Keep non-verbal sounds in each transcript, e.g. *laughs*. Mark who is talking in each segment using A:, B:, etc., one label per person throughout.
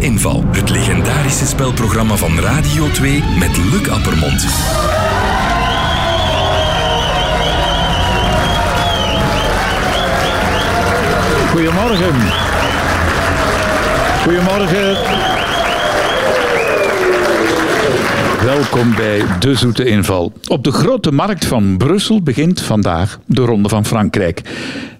A: Inval. Het legendarische spelprogramma van Radio 2 met Luc Appermond.
B: Goedemorgen. Goedemorgen. Welkom bij De Zoete Inval. Op de grote markt van Brussel begint vandaag de Ronde van Frankrijk.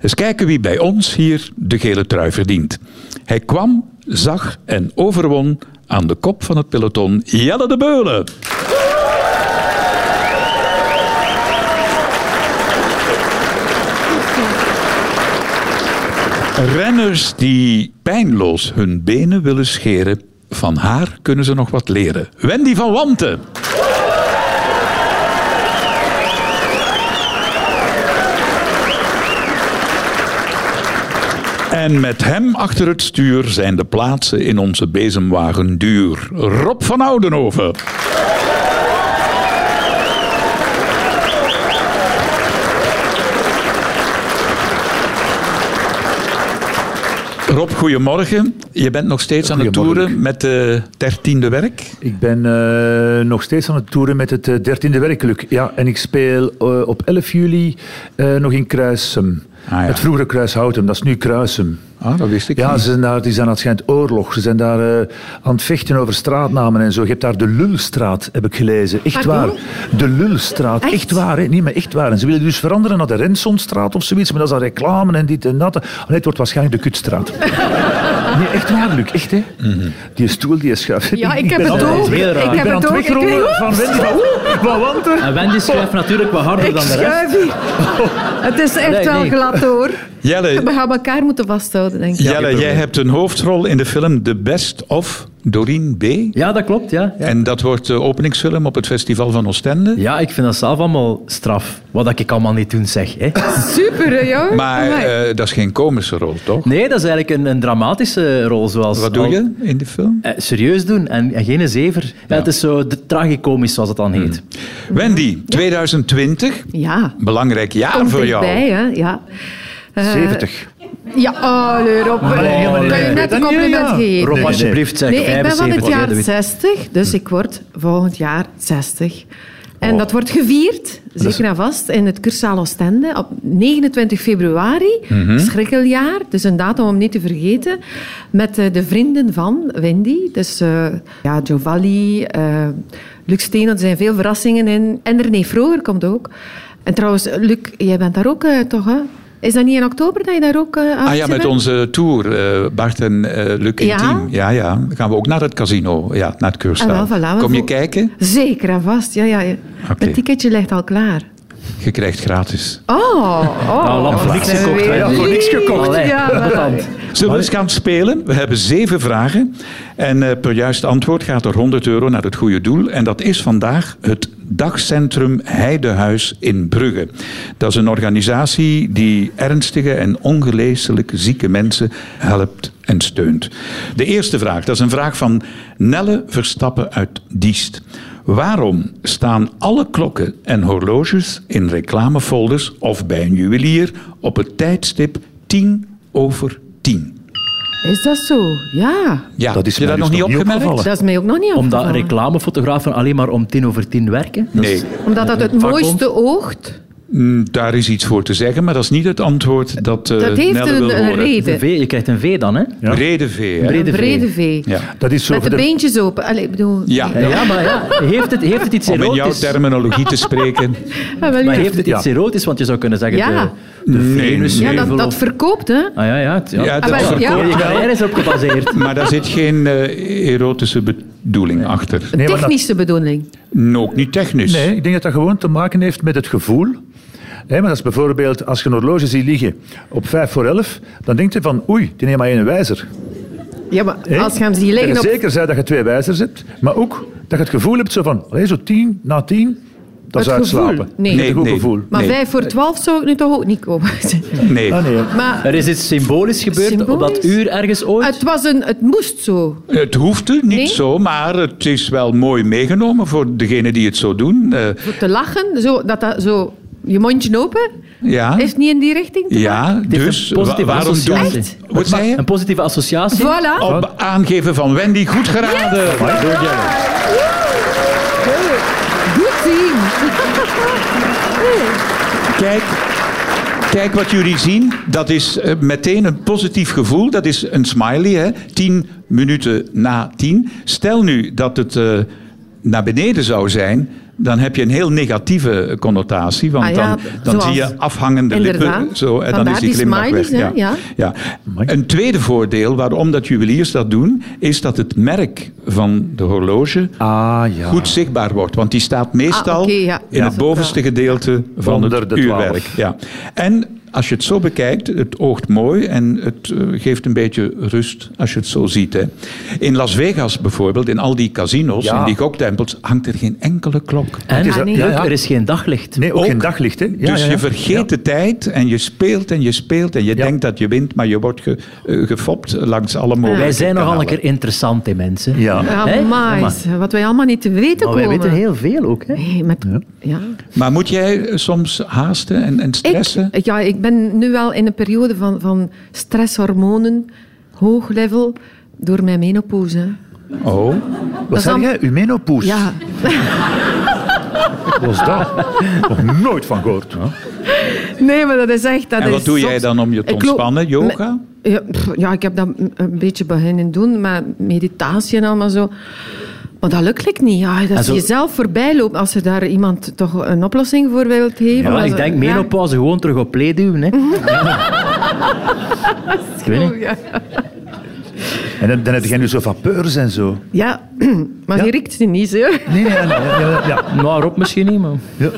B: Eens kijken wie bij ons hier de gele trui verdient. Hij kwam, zag en overwon aan de kop van het peloton Jelle de Beulen. Renners die pijnloos hun benen willen scheren, van haar kunnen ze nog wat leren. Wendy van Wanten. En met hem achter het stuur zijn de plaatsen in onze bezemwagen duur. Rob van Oudenhoven. Rob, goedemorgen. Je bent nog steeds aan het
C: Goedemorgen.
B: toeren met de dertiende werk.
C: Ik ben eh, nog steeds aan het toeren met het eh, 13e werkelijk. Ja, en ik speel eh, op 11 juli eh, nog in Kruisum.
B: Ah, ja.
C: Het vroegere Kruishoutem, dat is nu Kruisum.
B: Ah, dat wist ik
C: Ja,
B: niet.
C: ze zijn daar, die zijn aan het schijnt oorlog. Ze zijn daar eh, aan het vechten over straatnamen en zo. Je hebt daar de Lulstraat, heb ik gelezen. Echt
D: Pardon?
C: waar. De Lulstraat. Echt,
D: Echt?
C: waar, hè? Nee, maar echt waar. En ze willen dus veranderen naar de Rensonstraat of zoiets. Maar dat is dan reclame en dit en dat. Nee, het wordt waarschijnlijk de Kutstraat. Nee, echt waar, Luc. Echt, hè? Die stoel, die schuift.
D: Ja, ik heb
C: ben
D: het
C: aan-
D: ook.
E: heel raar.
D: Ik
C: Ik
D: heb
C: ben aan
D: het
C: het
D: ook. Ik
C: wegrollen
D: weet-
C: van Wendy van Oeh, Van Wanten.
E: En Wendy schrijft natuurlijk wat harder
D: Ik
E: dan de rest.
D: schuif hier. Het is echt
E: Nee,
D: wel
E: nee.
D: glad hoor.
B: Jelle,
D: We gaan elkaar moeten vasthouden, denk ik.
B: Jelle, jij hebt een hoofdrol in de film The Best of Doreen B.
E: Ja, dat klopt, ja. ja.
B: En dat wordt de openingsfilm op het festival van Oostende.
E: ik vind dat zelf allemaal straf. Wat ik allemaal niet doen zeg. Hè.
D: Super, hè, joh.
B: Maar
D: Amai.
B: eh, dat is geen komische rol, toch?
E: Nee, dat is eigenlijk een, een dramatische rol. Zoals
B: Wat doe
D: Oh.
E: al-
B: je in die film?
E: Eh, serieus doen en, en geen zever. Ja, Mm. het is zo de, tragicomisch, zoals het dan heet.
B: Wendy, 2020,
D: ja,
B: belangrijk jaar
D: komt
B: voor jou.
D: erbij, hè. Ja. Eh,
C: 70.
D: Ja, oh, nee, Rob.
C: helemaal niet.
D: Kan je net een
C: Nee,
D: compliment
C: ja.
D: geven?
E: Rob,
C: Nee,
E: alsjeblieft, zeg
D: Nee, ik ben van het
E: 75,
D: jaar
E: jij weet
D: 60, dus ik word volgend jaar 60.
B: Oh.
D: En dat wordt gevierd, zeker en vast, in het Cursaal Oostende op 29 februari,
B: Mhm.
D: schrikkeljaar. Dus een datum om niet te vergeten. Met eh, de vrienden van Wendy. Dus eh ja, Giovanni, eh Luc Steen, er zijn veel verrassingen in. En René Vroger komt ook. En trouwens, Luc, jij bent daar ook eh, toch, hè? Is dat niet in oktober dat je daar ook eh,
B: Ah
D: actief
B: ja, met
D: bent?
B: onze tour, eh, Bart en eh, Luc in
D: Ja?
B: team. Ja, ja. Dan gaan we ook naar het casino, ja, naar het
D: Ah, wel,
B: Keurstaal.
D: voilà, we
B: Kom je
D: vo-
B: kijken?
D: Zeker en vast, ja, ja. ja.
B: Oké.
D: Het ticketje ligt al klaar.
B: Je krijgt gratis.
D: Oh, oh.
E: Nou, lamp voor niks
D: zijn
E: gekocht,
D: we
E: hè.
D: weer
E: Ja, voor
D: lief.
E: niks gekocht. Allee,
D: Ja,
E: wat
D: wel.
E: dan?
B: Zullen we eens gaan spelen? We hebben zeven vragen. En eh, per juist antwoord gaat er 100 euro naar het goede doel. En dat is vandaag het Dagcentrum Heidehuis in Brugge. Dat is een organisatie die ernstige en ongeneeslijk zieke mensen helpt en steunt. De eerste vraag, dat is een vraag van Nelle Verstappen uit Diest. Waarom staan alle klokken en horloges in reclamefolders of bij een juwelier op het tijdstip 10 over 10?
D: Is dat zo? Ja.
B: Ja,
C: Dat is
B: heb je dat
C: mij
B: nog
C: dus
B: niet
C: nog niet
B: opgemerkt?
C: opgevallen.
D: Dat is mij ook nog niet
E: Omdat
D: opgevallen.
E: reclamefotografen alleen maar om tien over tien werken. Dat is-
B: Nee,
D: Omdat dat het
E: vakbond.
D: mooiste oogt.
B: Mm, daar is iets voor te zeggen, maar dat is niet het antwoord dat, eh
D: Dat heeft
B: Nelle wil
D: een, een
B: horen.
E: De
D: reden.
E: V, je krijgt een V dan, hè?
C: Ja.
B: Reden V, hè?
E: Brede
D: Een
E: V.
D: brede V.
B: Ja.
C: Dat is zo
D: Met
C: voor
D: de
C: de-
D: beentjes open. Allee, ik bedoel...
B: Ja.
E: Eh, Ja, maar ja, heeft, het, heeft het iets
B: Om in jouw
E: erotisch?
B: terminologie te spreken. *laughs*
D: Ah, wel,
E: Maar
D: ja.
E: heeft het iets
C: Ja.
E: erotisch? Want je zou kunnen zeggen
D: Ja.
E: de, de
B: Nee,
E: Venus.
D: ja,
E: heuvel
D: dat, dat
E: of-
D: verkoopt, hè.
E: Ah ja, ja. Het, ja.
B: Ja, dat
D: Ah, wel, ja.
B: verkoopt.
E: Je
D: verkoopt
E: carrière is erop gebaseerd.
B: Maar daar zit geen eh, erotische bedoeling achter.
C: Nee, maar dat-
D: Technische bedoeling.
B: Ook niet technisch.
C: Nee, ik denk dat dat gewoon te maken heeft met het gevoel. Hè, maar dat is bijvoorbeeld als je een horloge ziet liggen op 5 voor 11, dan denk je van oei, die neemt maar één wijzer.
D: Ja, maar
C: Hè?
D: als je hem ziet
C: Dat
D: liggen
C: je
D: op...
C: zeker zei dat je twee wijzers hebt, maar ook dat je het gevoel hebt zo van allee, zo tien na tien, dat is
D: Het gevoel?
C: uitslapen.
D: Nee.
C: Dat is
B: Nee,
C: een goed
B: nee.
C: gevoel.
D: Maar
B: Nee.
D: vijf voor twaalf zou ik nu toch ook niet komen.
B: Nee.
C: Ah, nee.
D: *laughs* Maar
E: Er is iets symbolisch gebeurd op dat
D: Symbolisch?
E: uur ergens Eh, ooit.
D: het, was een, het moest zo.
B: Het hoeft er niet
D: Nee?
B: zo, maar het is wel mooi meegenomen voor degenen die het zo doen. Eh,
D: Voor te lachen, zo, dat dat zo je mondje open?
B: Ja,
D: Is het niet in die richting? te maken?
B: Ah. ja
E: heeft
B: dus
E: een positieve
B: wa- waarom doen
E: associatie.
B: Echt? Wat zei je?
E: Een positieve associatie.
D: Voilà.
B: Op aangeven van Wendy, goed geraden.
D: Goed team.
B: Kijk, kijk wat jullie zien. Dat is eh, meteen een positief gevoel. Dat is een smiley, hè? Tien minuten na tien. Stel nu dat het eh, naar beneden zou zijn. Dan heb je een heel negatieve connotatie. Want
D: Ah ja,
B: dan, dan
D: zoals-
B: zie je afhangende lippen.
D: Inderdaad.
B: Zo, en dan
D: Vandaar
B: is die
D: die
B: glimlach
D: smileys,
B: weg.
D: hè, ja.
B: Ja. Een tweede voordeel waarom dat juweliers dat doen. Is dat het merk van de horloge
C: Ah ja.
B: goed zichtbaar wordt. Want die staat meestal
D: Ah, oké, ja.
B: in
D: Ja.
B: het bovenste gedeelte van
C: Onder
B: het
C: de
B: uurwerk.
C: 12.
B: Ja. En als je het zo bekijkt, het oogt mooi en het eh, geeft een beetje rust als je het zo ziet. Hè. In Las Vegas bijvoorbeeld, in al die casinos,
C: Ja.
B: in die goktempels, hangt er geen enkele klok.
E: En
D: is- Ah, nee.
E: leuk,
C: Ja, ja.
E: er is geen daglicht.
C: Nee, ook,
B: Ook.
C: geen daglicht, hè? Ja,
B: dus
C: ja, ja.
B: je vergeet de tijd en je speelt en je speelt en je
C: Ja.
B: denkt dat je wint, maar je wordt ge- eh, gefopt langs alle mogelijke
E: Wij zijn nogal een
B: kanalen.
E: keer interessante mensen.
C: Ja.
D: Ja,
E: Hè?
D: maar
E: Maar-
D: wat wij allemaal niet te weten
E: Maar wij
D: komen.
E: weten heel veel ook. Hè?
D: Nee, met, ja.
B: Maar moet jij eh, soms haasten en, en stressen?
D: Ik, ja, ik ben nu wel in een periode van, van stresshormonen, hoog level, door mijn menopauze. hè.
B: Oh,
C: Wat
D: dan-
C: zei jij? Uw menopauze?
D: Ja,
C: Wat was
B: *laughs*
C: dat? Nog nooit van gehoord. hè?
D: nee, maar dat is echt... Dat
B: En wat
D: is
B: doe jij
D: zot.
B: dan om je te
D: Ik loop-
B: ontspannen? Yoga?
D: Me- Ja, pff, ja, ik heb dat een- een beetje beginnen doen, maar meditatie en allemaal zo. Maar dat lukt like niet. Ja, dat
E: zo-
D: je jezelf voorbij loopt als er daar iemand toch een oplossing voor wilt geven.
E: Ja,
D: Dat
E: ik
D: is-
E: denk
D: ja.
E: menopauze gewoon terug op
D: *laughs*
E: play duwen. Hè. ik weet niet.
D: Oh, ja.
C: En dan, dan heb jij nu zo vapeurs en zo.
D: Ja, *clears throat* maar
C: Ja.
D: je riekt ze niet, hè?
C: Nee, nee, nee. nee, nee, ja.
E: Nou, Rob misschien niet, maar
D: *laughs*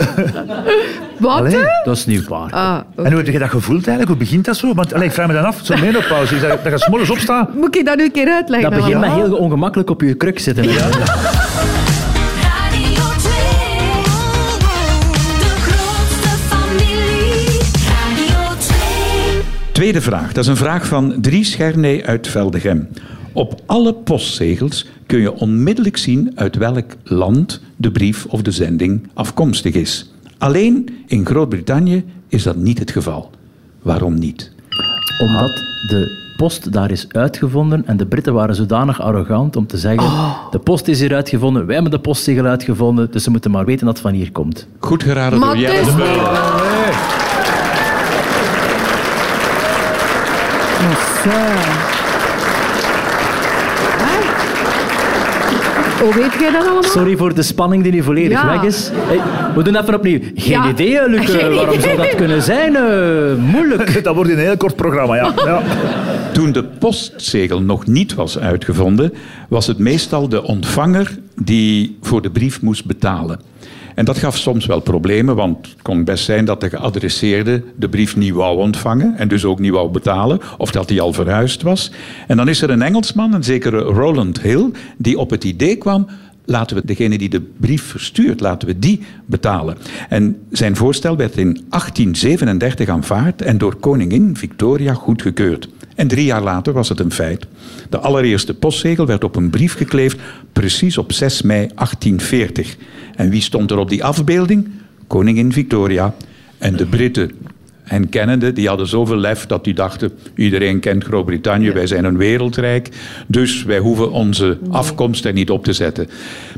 D: Wat?
C: Allee.
D: hè?
E: dat is niet waar.
D: Ah,
C: *laughs* En hoe heb je dat gevoeld eigenlijk? Hoe begint dat zo? Want allee, ik vraag me dan af, zo'n menopauze, is dat, dat je s'morgens opstaat? *laughs*
D: moet ik dat nu een keer uitleggen?
E: dat begint met
D: allemaal?
E: heel ongemakkelijk op je kruk zitten.
F: Radio 2. De grootste familie. Radio 2.
B: Tweede vraag. Dat is een vraag van Dries Scherney uit Veldegem. Op alle postzegels kun je onmiddellijk zien uit welk land de brief of de zending afkomstig is. Alleen in Groot-Brittannië is dat niet het geval. Waarom niet?
E: Omdat de post daar is uitgevonden en de Britten waren zodanig arrogant om te zeggen
D: Oh.
E: de post is hier uitgevonden, wij hebben de postzegel uitgevonden, dus ze moeten maar weten dat het van hier komt.
B: Goed geraden
D: Maar
B: door Jelle.
D: het is
B: de
D: niet
B: Beul.
D: Hoe weet jij dat allemaal?
E: Sorry voor de spanning die nu volledig
D: Ja.
E: weg is. Hey, we doen even opnieuw. Geen
D: Ja.
E: idee, hè, Luc.
D: Geen
E: eh, Waarom zou dat kunnen zijn? Eh, moeilijk.
C: Dat wordt in een heel kort programma, ja. ja.
B: Toen de postzegel nog niet was uitgevonden, was het meestal de ontvanger die voor de brief moest betalen. En dat gaf soms wel problemen, want het kon best zijn dat de geadresseerde de brief niet wou ontvangen en dus ook niet wou betalen, of dat hij al verhuisd was. En dan is er een Engelsman, een zekere Roland Hill, die op het idee kwam, laten we degene die de brief verstuurt, laten we die betalen. En zijn voorstel werd in 1837 aanvaard en door koningin Victoria goedgekeurd. En drie jaar later was het een feit. De allereerste postzegel werd op een brief gekleefd, precies op 6 mei 1840. En wie stond er op die afbeelding? Koningin Victoria. En de Britten en kennende, die hadden zoveel lef dat die dachten: iedereen kent Groot-Brittannië, wij zijn een wereldrijk, dus wij hoeven onze afkomst er niet op te zetten.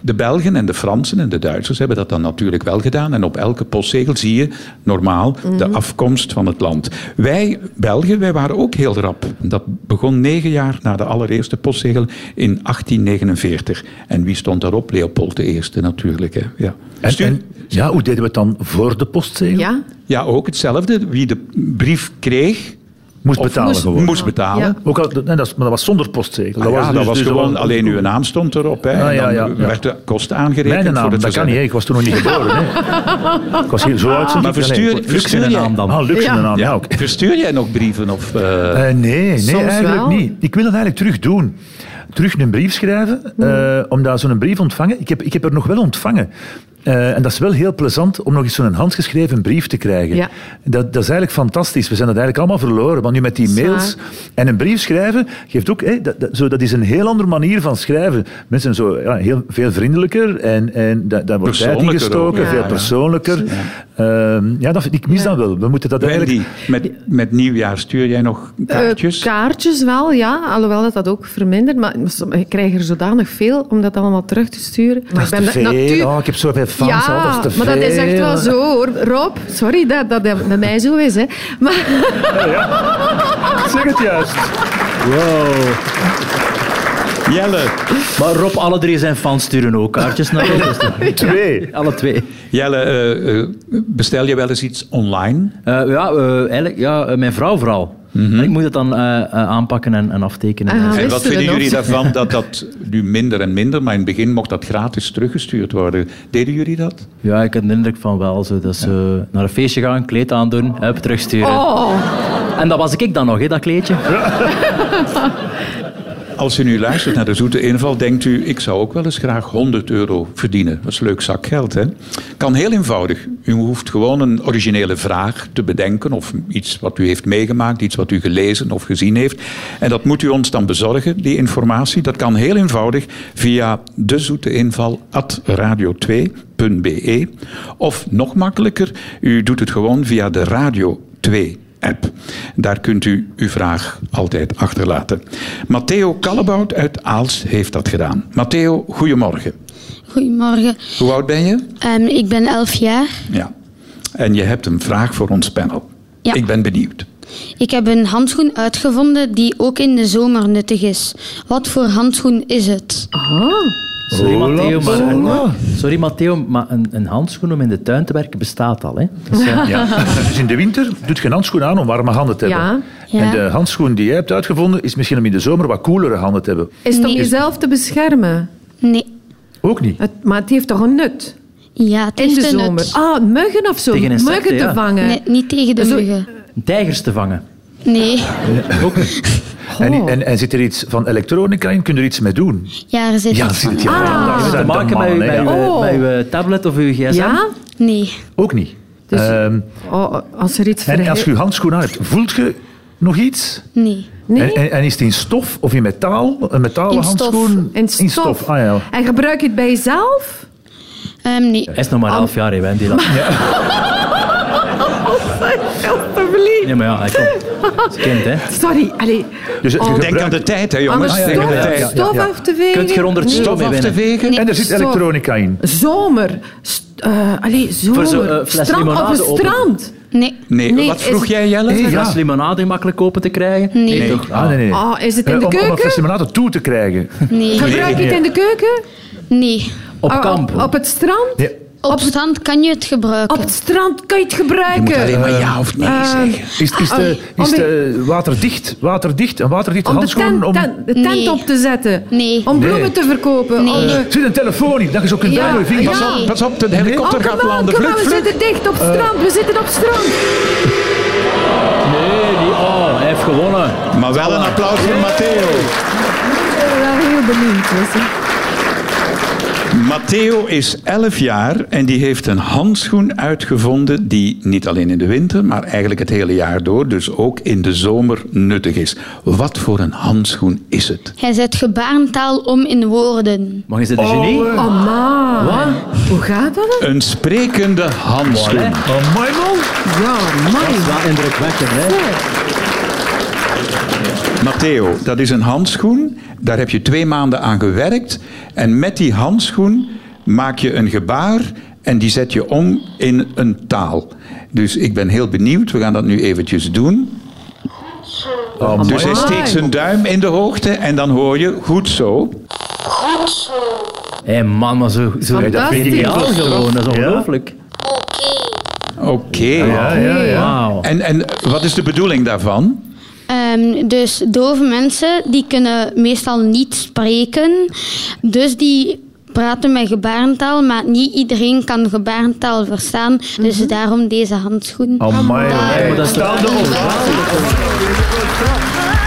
B: De Belgen en de Fransen en de Duitsers hebben dat dan natuurlijk wel gedaan. En op elke postzegel zie je normaal de afkomst van het land. Wij Belgen, wij waren ook heel rap. Dat begon negen jaar na de allereerste postzegel in 1849. En wie stond daarop? Leopold I natuurlijk. Hè. Ja.
C: En,
B: Stuur-
C: en, ja, hoe deden we het dan voor de postzegel?
D: Ja?
B: ja, ook hetzelfde. Wie de brief kreeg,
C: Moest
B: Of
C: betalen
D: moest-
C: gewoon.
B: Moest betalen.
D: Ja.
C: Ook al, nee, dat, is- maar dat was zonder postzegel.
B: Ah ja, dat
C: dus-
B: was
C: dus
B: gewoon
C: dat was-
B: alleen uw naam stond erop. Hè.
C: Ah,
B: en
C: ja,
B: dan
C: ja, ja.
B: werd de kost aangerekend
C: Mijn
B: voor
C: naam,
B: het
C: dat
B: verzend.
C: kan niet. hè. Ik was
B: *laughs*
C: toen nog niet geboren. Hè. Ik was hier zo uit. zo-
B: Maar verstuur-
C: Nee,
B: verstuur
C: Luxe in de
B: jij-
C: naam dan. Ah, Luxe in de
D: Ja.
C: naam, ja.
B: Ja,
C: oké.
B: verstuur jij nog brieven? Of, eh,
C: Eh, nee, nee
D: Soms
C: eigenlijk
D: wel.
C: niet. Ik wil dat eigenlijk terug doen.
D: Hmm.
C: Terug een brief schrijven, eh, omdat zo'n brief ontvangen... Ik heb, ik heb er nog wel ontvangen. Eh, en dat is wel heel plezant om nog eens zo'n handgeschreven brief te krijgen.
D: Ja.
C: Dat, dat is eigenlijk fantastisch. We zijn dat eigenlijk allemaal verloren. Want nu met die
D: Zwaar.
C: mails en een brief schrijven geeft ook... hè, dat, dat, zo, dat is een heel andere manier van schrijven. Mensen zijn zo ja, heel, veel vriendelijker en, en da, daar wordt tijd in
B: Persoonlijker
C: gestoken.
B: ook, ja.
C: Veel
B: Ja.
C: persoonlijker. Ja, ja dat, ik mis dat wel. We moeten dat
B: Verdi, met, met nieuwjaar stuur jij nog kaartjes?
D: Eh, kaartjes wel, ja. Alhoewel dat dat ook vermindert. Maar ik krijg er zodanig veel om dat allemaal terug te sturen. Maar
C: Dat
D: ik
C: is te
D: ben
C: veel.
D: natuur-
C: Oh, ik heb zoveel fans al,
D: ja,
C: dat is te
D: maar dat is echt wel
C: veel.
D: zo, hoor. Rob, sorry dat dat, dat bij mij zo is, hè. Maar
C: Zeg het juist.
E: Wow.
B: Jelle,
E: Maar Rob, alle drie zijn fans sturen ook kaartjes naar ons. dus toch?
C: Twee.
E: Alle twee.
B: Jelle eh, eh, bestel je wel eens iets online?
E: Eh, ja, eh, eigenlijk, ja, eh, mijn vrouw vooral. En Ik moet het dan eh, eh, aanpakken en, en aftekenen.
D: Mhm. Aha.
B: En
D: Wisten
B: wat
D: we
B: vinden
D: nog?
B: jullie daarvan dat dat nu minder en minder, maar in het begin mocht dat gratis teruggestuurd worden? Deden jullie dat?
E: Ja, ik heb de indruk van wel. Zo, dat ze eh, naar een feestje gaan, kleed aandoen, hup, terugsturen.
D: oh,
E: En dat was ik dan nog, hè, dat kleedje.
B: Als u nu luistert naar de zoete inval, denkt u, ik zou ook wel eens graag 100 euro verdienen. Dat is een leuk zak geld, hè? Kan heel eenvoudig. U hoeft gewoon een originele vraag te bedenken of iets wat u heeft meegemaakt, iets wat u gelezen of gezien heeft. En dat moet u ons dan bezorgen, die informatie. Dat kan heel eenvoudig via dezoeteinval.radio2.be. Of nog makkelijker, u doet het gewoon via de Radio 2 app. Daar kunt u uw vraag altijd achterlaten. Matteo Kallebout uit Aals heeft dat gedaan. Matteo, goedemorgen.
G: Goedemorgen,
B: Hoe oud ben je?
G: Ehm, ik ben 11 jaar.
B: Ja. En je hebt een vraag voor ons panel.
G: Ja.
B: Ik ben benieuwd.
G: Ik heb een handschoen uitgevonden die ook in de zomer nuttig is. Wat voor handschoen is het?
E: Sorry,
C: Hola,
E: Matteo, maar,
C: hola.
E: sorry, Matteo, maar een, een handschoen om in de tuin te werken bestaat al. Hè? Dus,
D: *laughs*
E: eh,
C: Dus in de winter doet geen handschoen aan om warme handen te hebben.
G: Ja.
C: En de handschoen die jij hebt uitgevonden is misschien om in de zomer wat koelere handen te hebben.
D: is het om
G: Nee.
D: jezelf te beschermen?
G: Nee.
C: Ook niet.
D: Het, maar het heeft toch een nut?
G: Ja, het
D: In
G: heeft
D: de
G: een
D: zomer.
G: nut.
D: Ah, muggen of zo.
E: Tegen insecten,
D: muggen
E: ja.
D: te vangen.
G: Nee, niet tegen de
D: Zo-
G: muggen.
E: tijgers te
C: Ah.
E: vangen.
G: Nee.
E: Ook niet.
D: Oh.
C: En, en, en zit er iets van elektronica in? Kun je er iets mee doen?
G: Ja, er zit
C: Ja,
G: iets
C: zit
G: van.
C: je
D: Ah.
C: Dat
E: Heeft
C: zijn
E: te
C: de
E: maken bij,
C: mannen,
E: uw-
C: hè,
E: bij,
C: ja.
E: uw-
D: Oh.
E: bij uw eh, tablet of uw gsm.
D: Ja?
G: Nee.
C: Ook niet.
D: Dus-
C: Ehm,
D: Oh, als er iets
C: en
D: verhe-
C: als je je handschoen aan hebt, voelt je nog iets?
G: Nee.
D: Nee?
C: En, en, en is het in stof of in metaal? Een metalen
G: In stof.
C: handschoen?
D: In stof.
C: In stof, ah ja.
D: En gebruik je het bij jezelf?
G: Ehm, nee.
E: Hij is nog maar een half jaar, hè, Wendy. Dat-
D: Alsjeblieft.
E: Nee, maar ja, hij komt.
D: *laughs*
E: Dat is kind, hè.
D: Sorry, allee.
C: Dus
D: Oh.
C: je
B: Denk aan de tijd, hè jongens.
D: Anders
B: Denk
D: stof,
B: aan de
C: ja,
B: tijd.
C: ja.
D: stof af te vegen.
E: Kunt je er onder het
D: Nee.
E: stof
B: Stof
E: mee
B: af te
E: winnen.
B: vegen.
G: Nee.
C: En er zit
D: Stof.
C: elektronica in.
D: Zomer. St- eh, allee, zomer.
E: Voor zo'n, eh, fles
D: strand op
E: limonade
D: een
E: open.
D: strand.
G: Nee.
B: Nee,
D: Nee,
B: wat
D: is
B: vroeg
D: het-
B: jij, Jelle?
E: Een
C: ja.
E: glas limonade makkelijk open te krijgen?
G: Nee. Nee.
E: toch?
C: Ah, nee, nee.
D: Ah, is het in
C: Eh,
D: de
C: om, om een
D: keuken?
C: fles limonade toe te krijgen.
G: Nee.
D: Gebruik je het in de keuken?
G: Nee.
E: Op
D: Ah,
E: kamp.
D: Op, het strand?
C: Ja.
G: Op strand kan je het gebruiken.
D: Op het strand kan je het gebruiken.
B: Je moet alleen maar ja of nee
D: Eh,
B: zeggen.
C: Is, is,
D: Ah,
C: de,
D: om
C: is
D: de-
C: de waterdicht, waterdicht, een waterdichte
D: Om de
C: handschoen?
D: tent,
C: Om...
D: tent- de tent
G: Nee.
D: op te zetten.
G: Nee.
D: Om
C: Nee.
D: bloemen te verkopen. Om,
G: Nee.
D: eh,
C: Zit een telefoon in, dat je zo kunt
D: Ja,
C: duimen. je vingers.
D: ja.
B: Pas op, pas op, de helikopter
D: oh,
B: gaat
D: come on,
B: landen.
D: come on,
B: Vlug,
D: we
B: vlug.
D: zitten dicht op strand. We zitten op strand.
E: Nee, die, oh, hij heeft gewonnen.
B: Maar wel
D: eh,
B: een applaus voor Matteo.
D: Ik ben wel heel benieuwd. Dus.
B: Matteo is 11 jaar en die heeft een handschoen uitgevonden die niet alleen in de winter, maar eigenlijk het hele jaar door, dus ook in de zomer nuttig is. Wat voor een handschoen is het?
G: Hij zet gebarentaal om in woorden.
E: Mag je zitten, genie?
C: Oh, eh.
D: Oh, man. Hoe gaat dat?
B: Een sprekende handschoen.
C: Oh, mooi man.
D: Ja, man.
E: Dat is wel indrukwekkend, hè?
B: Matteo, dat is een handschoen. Daar heb je twee maanden aan gewerkt. En met die handschoen maak je een gebaar en die zet je om in een taal. Dus ik ben heel benieuwd. We gaan dat nu eventjes doen.
C: Oh, mooi.
B: Dus hij steekt zijn duim in de hoogte en dan hoor je goed zo.
E: Hé man, maar zo, zo
D: Fantastisch.
E: dat vind ik ideaal gewoon. Dat is ongelooflijk.
B: Oké.
C: Ja, ja, ja.
E: Wauw.
B: En, en wat is de bedoeling daarvan?
G: Ehm, dus dove mensen die kunnen meestal niet spreken. Dus die praten met gebarentaal, maar niet iedereen kan gebarentaal verstaan. Dus daarom deze handschoen.
C: Oh, mooi.
E: Ja, maar dat is toch-
C: Staande ovatie.
F: De grootste familie,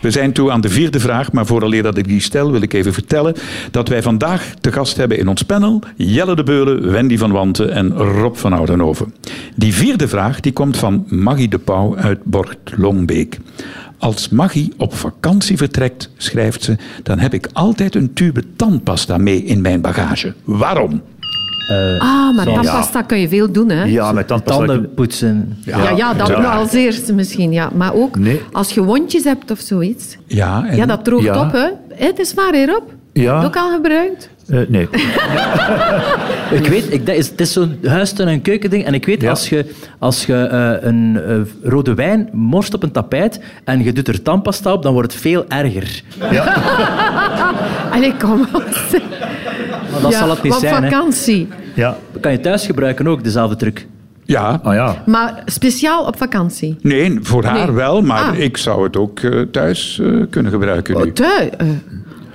B: We zijn toe aan de vierde vraag, maar vooraleer dat ik die stel, wil ik even vertellen dat wij vandaag te gast hebben in ons panel Jelle de Beulen, Wendy van Wanten en Rob van Oudenhoven. Die vierde vraag die komt van Maggie de Pauw uit Bort Longbeek. Als Maggie op vakantie vertrekt, schrijft ze, dan heb ik altijd een tube tandpasta mee in mijn bagage. Waarom?
D: Ah, maar
E: Zo.
D: tandpasta kun je veel doen, hè?
C: Ja, met tandpasta.
E: Tanden poetsen.
D: Ja, ja, dat
C: ja.
D: als eerste misschien, ja. Maar ook
C: Nee.
D: als je wondjes hebt of zoiets.
B: Ja, en
D: Ja, dat droogt
C: Ja.
D: op, hè. Hé, Het is waar, hierop.
C: Ja.
D: Ook al gebruikt.
C: Eh, nee.
E: Ik weet, ik, dat is, het is zo'n huistuin- en keukending. En ik weet,
C: Ja.
E: als je, als je eh, een eh, rode wijn morst op een tapijt en je doet er tandpasta op, dan wordt het veel erger.
D: Allee, kom.
E: Maar dat zal het niet
D: want
E: zijn. hè.
D: vakantie.
C: Ja.
E: Dat kan je thuis gebruiken ook, dezelfde truc.
B: ja.
C: Ah ja.
D: Maar speciaal op vakantie.
B: Nee, voor haar
D: Nee.
B: wel, maar
D: Ah.
B: ik zou het ook eh, thuis eh, kunnen gebruiken nu.
D: Tui, eh,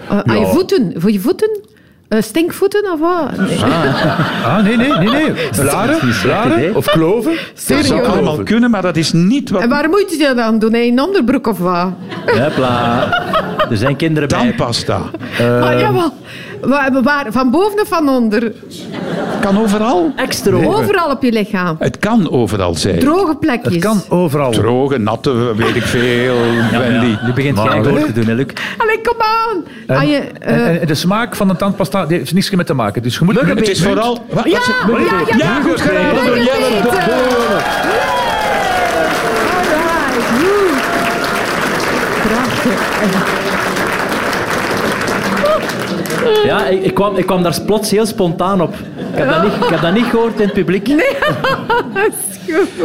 D: eh, Aan je voeten. Voor je voeten. Eh, stinkvoeten of wat? Nee.
C: Ah, nee, nee, nee,
E: *laughs*
C: nee. Blaren, blaren
E: idee.
C: of kloven.
B: Dat zou
D: Serieus.
B: allemaal kunnen, maar dat is niet wat
D: En waar moet je dat dan doen? hè? In een onderbroek of wat?
E: Hupla. Er zijn kinderen bij.
B: tandpasta.
C: Eh.
D: Maar jawel. Waar, waar- van boven of van onder?
B: Kan overal.
E: Extra.
D: Overal op je lichaam.
B: Het kan overal zijn.
D: Droge plekjes.
C: Eh, Het kan overal.
B: Droge, natte, weet ik veel, Wendy.
E: Nu begint jij
C: Maar-
E: gehoor te doen, hè, Luc.
D: Allee, kom aan.
C: En,
D: Aan je, eh,
C: en- en de smaak van de tandpasta die heeft niks mee te maken. Dus je moet...
B: Het is vooral... Wat- wat-
D: ja, ja, ja, ja,
B: Ja, goed gedaan
D: Lekker
B: door Jelle de
D: eten. Alright, woe. Prachtig.
E: Ja, ik, ik, kwam, ik kwam daar plots heel spontaan op. Ik heb dat niet, ik heb dat niet gehoord in het publiek.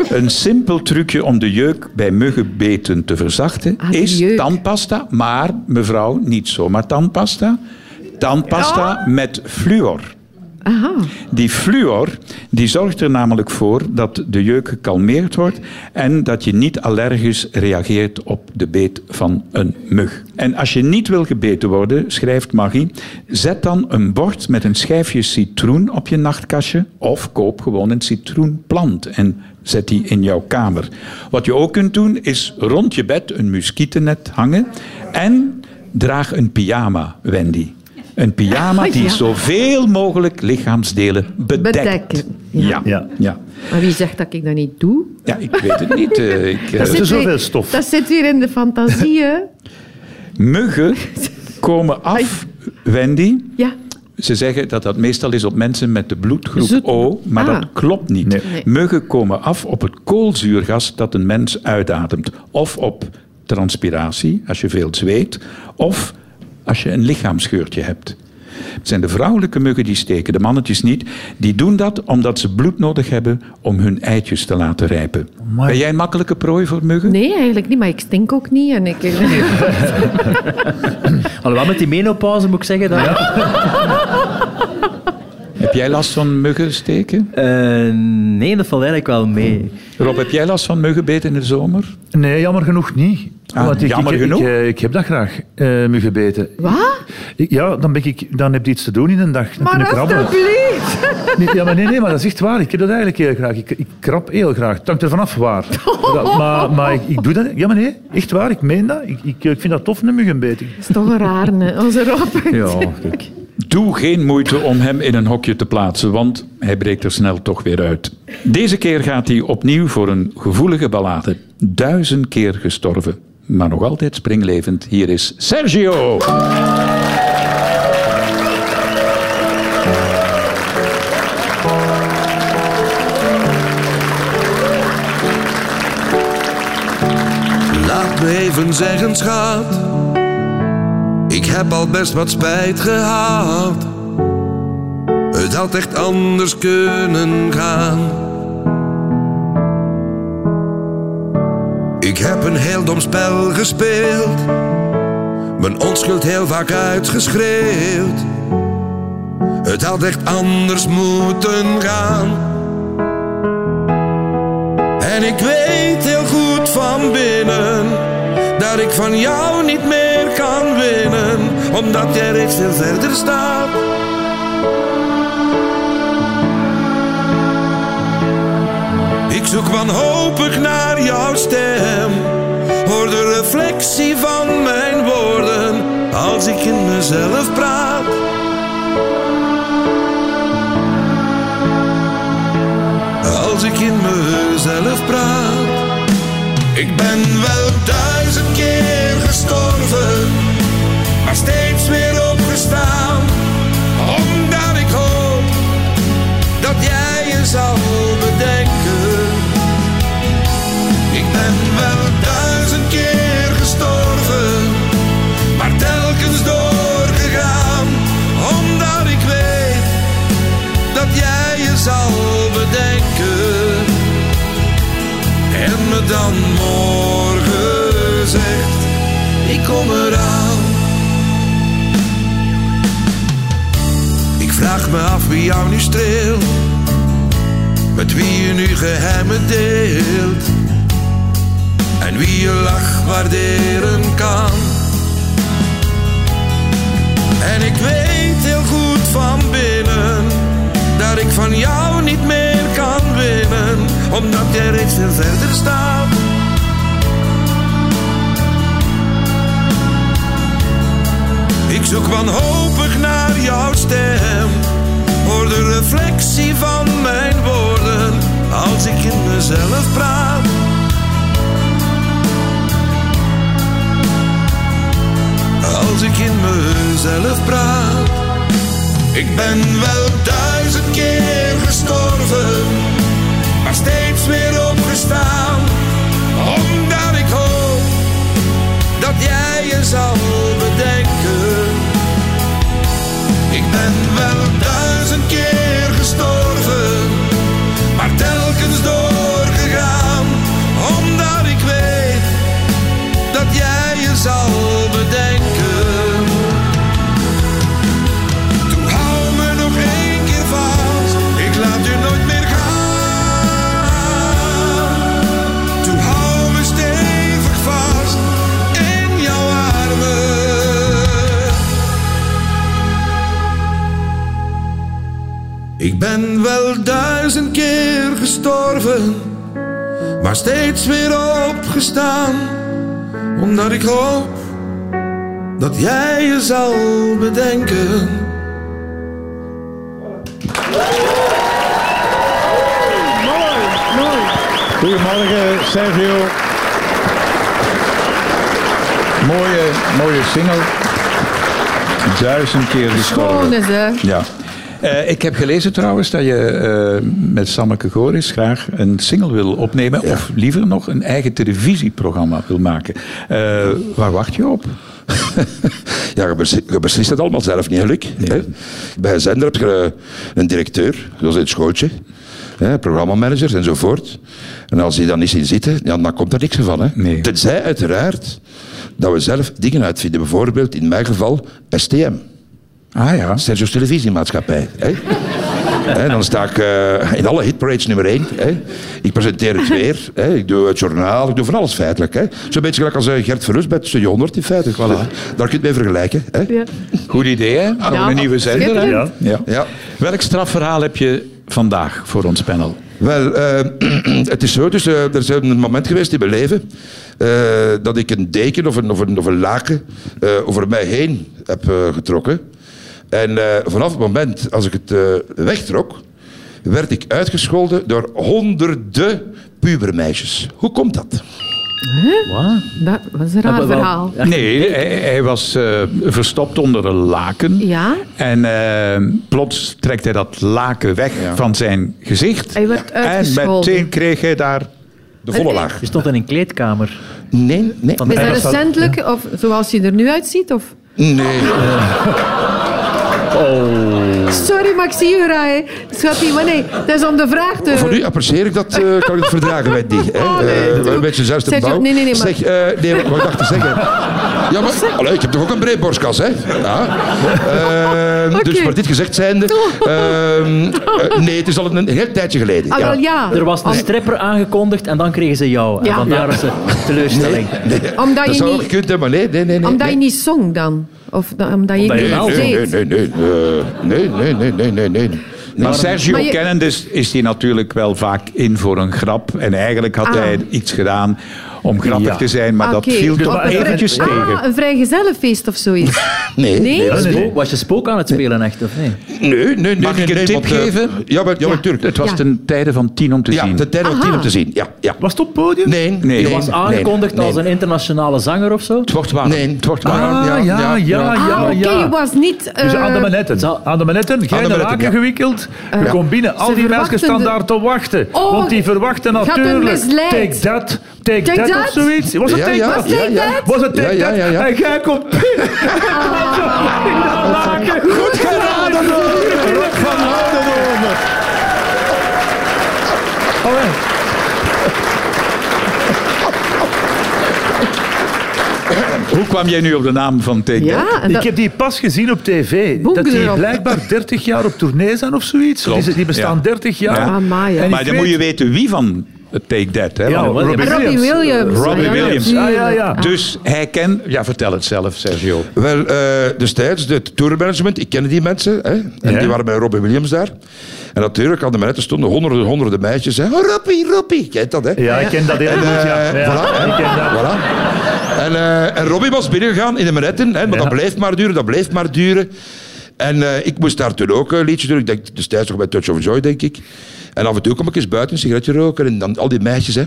B: Een simpel trucje om de jeuk bij muggenbeten te verzachten
D: Ah, die
B: is
D: jeuk.
B: tandpasta, maar mevrouw, niet zomaar tandpasta. Tandpasta
D: Oh.
B: met fluor.
D: Aha.
B: Die fluor die zorgt er namelijk voor dat de jeuk gekalmeerd wordt en dat je niet allergisch reageert op de beet van een mug. En als je niet wil gebeten worden, schrijft Maggie, zet dan een bord met een schijfje citroen op je nachtkastje of koop gewoon een citroenplant en zet die in jouw kamer. Wat je ook kunt doen is rond je bed een muskietennet hangen en draag een pyjama, Wendy. Een pyjama die
D: Ja.
B: zoveel mogelijk lichaamsdelen bedekt.
D: Bedekken, ja.
B: Ja. Ja.
C: Ja.
B: Ja.
D: Maar wie zegt dat ik dat niet doe?
B: ja, ik weet het niet. eh, ik, eh,
C: Dat is
D: Zit
C: zoveel
D: weer-
C: stof.
D: Dat zit weer in de fantasie, hè?
B: Muggen komen af, Wendy.
D: Ja.
B: Ze zeggen dat dat meestal is op mensen met de bloedgroep
D: Zoet-
B: O, maar
D: Ah.
B: dat klopt niet.
C: Nee.
D: Nee.
B: Muggen komen af op het koolzuurgas dat een mens uitademt. Of op transpiratie, als je veel zweet, of als je een lichaamsgeurtje hebt. Het zijn de vrouwelijke muggen die steken, de mannetjes niet. Die doen dat omdat ze bloed nodig hebben om hun eitjes te laten rijpen.
C: Amai.
B: Ben jij een makkelijke prooi voor muggen?
D: Nee, eigenlijk niet. Maar ik stink ook niet. En ik,
E: Alhoewel, met die menopauze moet ik zeggen dat...
B: Heb jij last van muggen steken?
E: Eh, nee, dat valt eigenlijk wel mee.
B: Rob, heb jij last van muggenbeten in de zomer?
C: Nee, jammer genoeg niet.
B: Ah,
C: Want ik,
B: jammer
C: ik, ik,
B: genoeg?
C: eh, ik heb dat graag, eh muggenbeten.
D: Wat?
C: Ik- ja, dan, ben ik, dan heb je iets te doen in een dag. Dan
D: Maar
C: kun je krabbelen.
D: alstublieft.
C: Nee, ja, maar nee, nee, maar dat is echt waar. Ik heb dat eigenlijk heel graag. Ik, ik krab heel graag. Het hangt er vanaf waar. Dat- maar maar ik, ik doe dat. Ja, maar nee. Echt waar. Ik meen dat. Ik, ik, ik vind dat tof, een muggenbeten.
D: Dat is toch een raar, hè, onze Rob.
E: Ja, kijk.
B: Doe geen moeite om hem in een hokje te plaatsen, want hij breekt er snel toch weer uit. Deze keer gaat hij opnieuw voor een gevoelige ballade. Duizend keer gestorven, maar nog altijd springlevend. Hier is Sergio.
H: Laat me even zeggen, schat. Ik heb al best wat spijt gehad. Het had echt anders kunnen gaan. Ik heb een heel dom spel gespeeld. Mijn onschuld heel vaak uitgeschreeuwd. Het had echt anders moeten gaan. En ik weet heel goed van binnen dat ik van jou niet meer kan winnen, omdat jij reeds veel verder staat. Ik zoek wanhopig naar jouw stem, hoor de reflectie van mijn woorden als ik in mezelf praat. Als ik in mezelf praat. Ik ben wel duizend keer gestorven, maar steeds weer opgestaan. Omdat ik hoop dat jij je zal bedenken. Ik ben wel duizend keer gestorven, maar telkens doorgegaan. Omdat ik weet dat jij je zal bedenken en me dan morgen zegt: Ik kom eraan. Ik vraag me af wie jou nu streelt, met wie je nu geheimen deelt, en wie je lach waarderen kan. En ik weet heel goed van binnen dat ik van jou niet meer kan winnen, omdat jij reeds veel verder staat. Ik zoek wanhopig naar jouw stem, hoor de reflectie van mijn woorden als ik in mezelf praat. Als ik in mezelf praat. Ik ben wel duizend keer gestorven, maar steeds weer opgestaan. Omdat ik hoop dat jij je zal bedenken. Ik ben wel duizend keer gestorven, maar telkens doorgegaan. Omdat ik weet dat jij je zal bedenken. Doe hou me nog één keer vast, ik laat je nooit meer gaan. Doe hou me stevig vast in jouw armen. Ik ben wel duizend keer gestorven, maar steeds weer opgestaan, omdat ik hoop dat jij je zal bedenken.
B: Goedemorgen, Sergio. Mooie, mooie single. Duizend keer
D: Schoon
B: gestorven.
D: is hè.
B: Ja. Eh, ik heb gelezen trouwens dat je eh, met Sammeke Goris graag een single wil opnemen. Of liever nog een eigen televisieprogramma wil maken. Eh, waar wacht je op?
I: Ja, je, besli- je beslist het allemaal zelf niet, gelukkig. hè. Bij een zender heb je eh, een directeur, zoals in het schooltje, hè, programmamanagers enzovoort. En als die dan niet zien zitten, ja, dan komt er niks van. Hè.
B: Nee.
I: Tenzij uiteraard dat we zelf dingen uitvinden. Bijvoorbeeld in mijn geval STM,
B: Ah ja.
I: Sergio's Televisiemaatschappij. Hè. En dan sta ik eh, in alle hitparades nummer één. Hè. Ik presenteer het weer, hè. ik doe het journaal, ik doe van alles feitelijk. hè. Zo'n beetje gelijk als eh, Gert Verhulst bij het Studio 100 in feite. Daar kun je het mee vergelijken. Hè.
D: Ja.
B: Goed idee, hè? Nog
D: Ja,
B: een nieuwe zender, hè?
C: Ja.
I: Ja.
B: Welk strafverhaal heb je vandaag voor ons panel?
I: Wel, eh, *clears throat* het is zo, dus, eh, er is een moment geweest in mijn leven eh, dat ik een deken of een, of een, of een laken eh, over mij heen heb eh, getrokken. En eh, vanaf het moment als ik het eh, wegtrok, werd ik uitgescholden door honderden pubermeisjes. Hoe komt dat?
E: Wat?
D: Dat was een raar
E: Ja, wel-
D: verhaal.
E: Ja.
B: Nee, hij, hij was eh, verstopt onder een laken.
D: Ja.
B: En eh, plots trekt hij dat laken weg van zijn gezicht.
D: Hij werd
B: en
D: uitgescholden. e-
B: meteen kreeg hij daar...
I: De volle laag.
E: Je stond in een kleedkamer.
I: Nee, nee.
E: Van
D: Is dat
E: de
D: recentelijk, of zoals hij er nu uitziet? Of?
I: Nee.
D: Sorry, maar ik zie u raar. Schatje, maar nee, het is om de vraag te...
I: Voor nu apprecieer ik dat, eh, kan ik het verdragen bij die. Hè?
D: Oh, nee,
I: Eh,
D: natuurlijk.
I: een beetje zelfs de
D: Sergio,
I: bouw.
D: nee, nee, nee, maar-
I: Zeg, eh, nee, wat ik dacht te
D: *laughs*
I: zeggen. Ja, maar allee, ik heb toch ook een breed borstkas, hè? Ja. Ehm,
D: Oké.
I: Dus maar dit gezegd zijnde... ehm, eh, nee, het is al een heel tijdje geleden.
D: Ah, wel, ja.
E: Er was een stripper aangekondigd en dan kregen ze jou. En
D: Ja.
E: vandaar was ze teleurstelling.
D: Omdat
I: Dat
D: je
I: zou
D: niet-
I: gekund hebben, maar nee, nee, nee. nee,
D: Omdat je
I: nee.
D: niet zong dan? Of da- omdat je
E: Omdat je
D: niet
E: wel
D: deed?
I: Nee, nee, nee, nee, eh, nee, nee, nee, nee, nee, nee.
B: Maar Sergio dus
D: Maar je-
B: kennend is, is hij natuurlijk wel vaak in voor een grap. En eigenlijk had
D: Ah.
B: hij iets gedaan om grappig
C: Ja.
B: te zijn, maar dat
D: Oké.
B: viel
C: Dus
B: toch
C: maar Ah, even-
B: eventjes
D: Ah,
B: tegen.
D: een vrijgezellenfeest of zoiets.
I: Nee,
D: Nee?
I: nee,
E: Was
C: nee, nee.
E: je spook- Dus Was je spook aan het spelen, echt, of nee?
I: nee, nee,
B: Mag
I: nee,
B: ik een
I: nee,
B: tip
I: want, eh,
B: geven?
I: Ja, maar, ja,
D: Ja.
I: natuurlijk.
B: Het was
D: Ja.
B: ten tijde van tien om te
I: Ja,
B: zien.
I: de tijd om tien om te zien. Ja, ja.
C: Was het op het podium?
I: Nee, nee.
B: Je
E: Je was
I: nee,
E: aangekondigd
I: nee.
E: als een internationale zanger of zo?
B: Het wordt warm.
I: Nee.
B: Het wordt
C: Ah,
B: warm.
C: ja, ja, ja, ja.
D: Ah, oké, je was niet...
C: Dus
D: eh,
C: aan de manetten.
E: Zal-
C: Aan de manetten, jij
I: Aan
C: in
I: de
C: de
I: manetten,
C: laken
I: ja.
C: gewikkeld. Je komt binnen, al
D: Ze
C: die mensen
D: verwachten
C: staan
D: de-
C: daar te wachten.
D: Oh,
C: want die verwachten
D: gaat hem
C: natuurlijk...
D: misleid.
C: Take that, take, that,
D: that?
C: of zoiets. Was het
I: Ja,
C: take
I: ja,
C: that?
I: ja, Take ja.
D: that?
C: Was het take
I: Ja, ja, ja,
C: that?
I: ja.
C: En jij komt binnen. In de laken. Goed gedaan, Rob van Oudenhoven. Allee.
B: Hoe kwam jij nu op de naam van Take That?
D: Ja, Ah, en
C: Ik
D: dat-
C: heb die pas gezien op tv.
D: Boeken
C: dat die
D: erop.
C: blijkbaar 30 jaar op tournee zijn of zoiets.
B: Klopt,
C: Die, die bestaan
B: ja.
C: 30 jaar.
B: Ja.
D: Amai, ja.
C: En ik
B: Maar dan moet je weten wie van Take That. Hè?
C: Ja,
B: Want-
E: Robbie
C: Robbie
D: Robbie
C: Williams.
D: Williams.
B: Robbie Williams.
C: Ja, ja, ja.
D: Ah,
B: Dus hij kent... Ja, vertel het zelf, Sergio.
I: Wel, eh destijds, het tourmanagement, ik kende die mensen. Hè? En
C: Ja.
I: die waren bij Robbie Williams daar. En natuurlijk, aan de manetten stonden honderden, honderden meisjes. Hè? Oh, Robbie, Robbie. Kent dat, hè?
C: Ja, ik ken dat heel goed. Ja.
I: Eh,
C: Ja,
I: voilà, hè.
C: ik ken dat.
I: Voilà. En, eh, en Robbie was binnengegaan in de manetten. Hè? Maar
C: Ja.
I: dat bleef maar duren, dat bleef maar duren. En eh, ik moest daar toen ook een liedje doen. Ik denk destijds nog bij Touch of Joy, denk ik. En af en toe kom ik eens buiten een sigaretje roken. En dan al die meisjes, hè.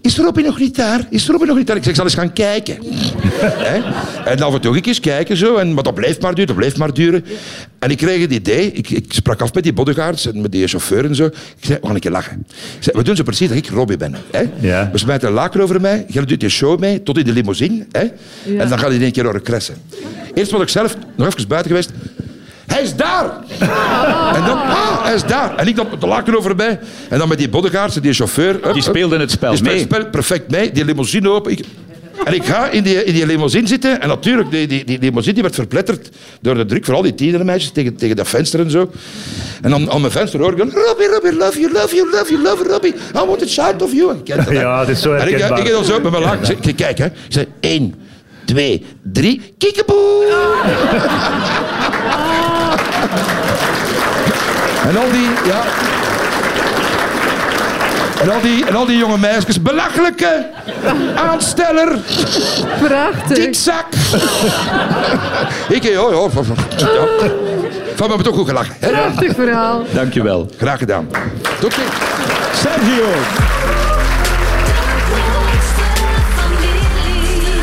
I: Is Robbie nog niet daar? Is Robbie nog niet daar? Ik zeg, ik zal eens gaan kijken. *laughs* Hè? En af en toe ging ik eens kijken zo. En, maar dat bleef maar duren, dat bleef maar duren. En ik kreeg het idee, ik, ik sprak af met die bodyguards en met die chauffeur en zo. Ik zei, we gaan een keer lachen. Ik zei, we doen zo precies dat ik Robbie ben. Hè?
C: Ja.
I: We smijten een laken over mij, jij doet je show mee, tot in de limousine. Hè? En dan gaat hij in één keer door de kressen. Eerst was ik zelf nog even buiten geweest. Hij is daar! En dan, ah, hij is daar. En ik dan met de laken over mij. En dan met die bodyguards en die chauffeur. hup,
B: Die
I: hup.
B: speelden het spel
I: Die speelden
B: mee.
I: het Dus spel perfect mee. Die limousine open. Ik, en ik ga in die, in die limousine zitten. En natuurlijk, die, die, die limousine die werd verpletterd door de druk. Vooral die tienermeisjes tegen, tegen dat venster en zo. En dan aan mijn venster hoor ik dan... Robbie, Robbie, love you, love you, love you, love Robbie. I want a child of you. Ik ken dat, hè.
C: Ja, het is zo
I: En ik, eh,
C: herkenbaar.
I: ik, ik dan zo met mijn laag. Ik zeg, kijk, hè. Ik zeg, één, twee, drie. Kiekeboe! En al die, ja. En al die, en al die jonge meisjes, belachelijke,
C: *laughs*
I: aansteller,
D: Prachtig.
I: dikzak. Ik, eh, oh, ja, ja, van, van, ja. oh. Van me toch goed gelachen. Hè?
D: Prachtig verhaal.
B: Dankjewel.
I: Graag gedaan. Tot ziens.
B: Sergio!
F: grootste familie.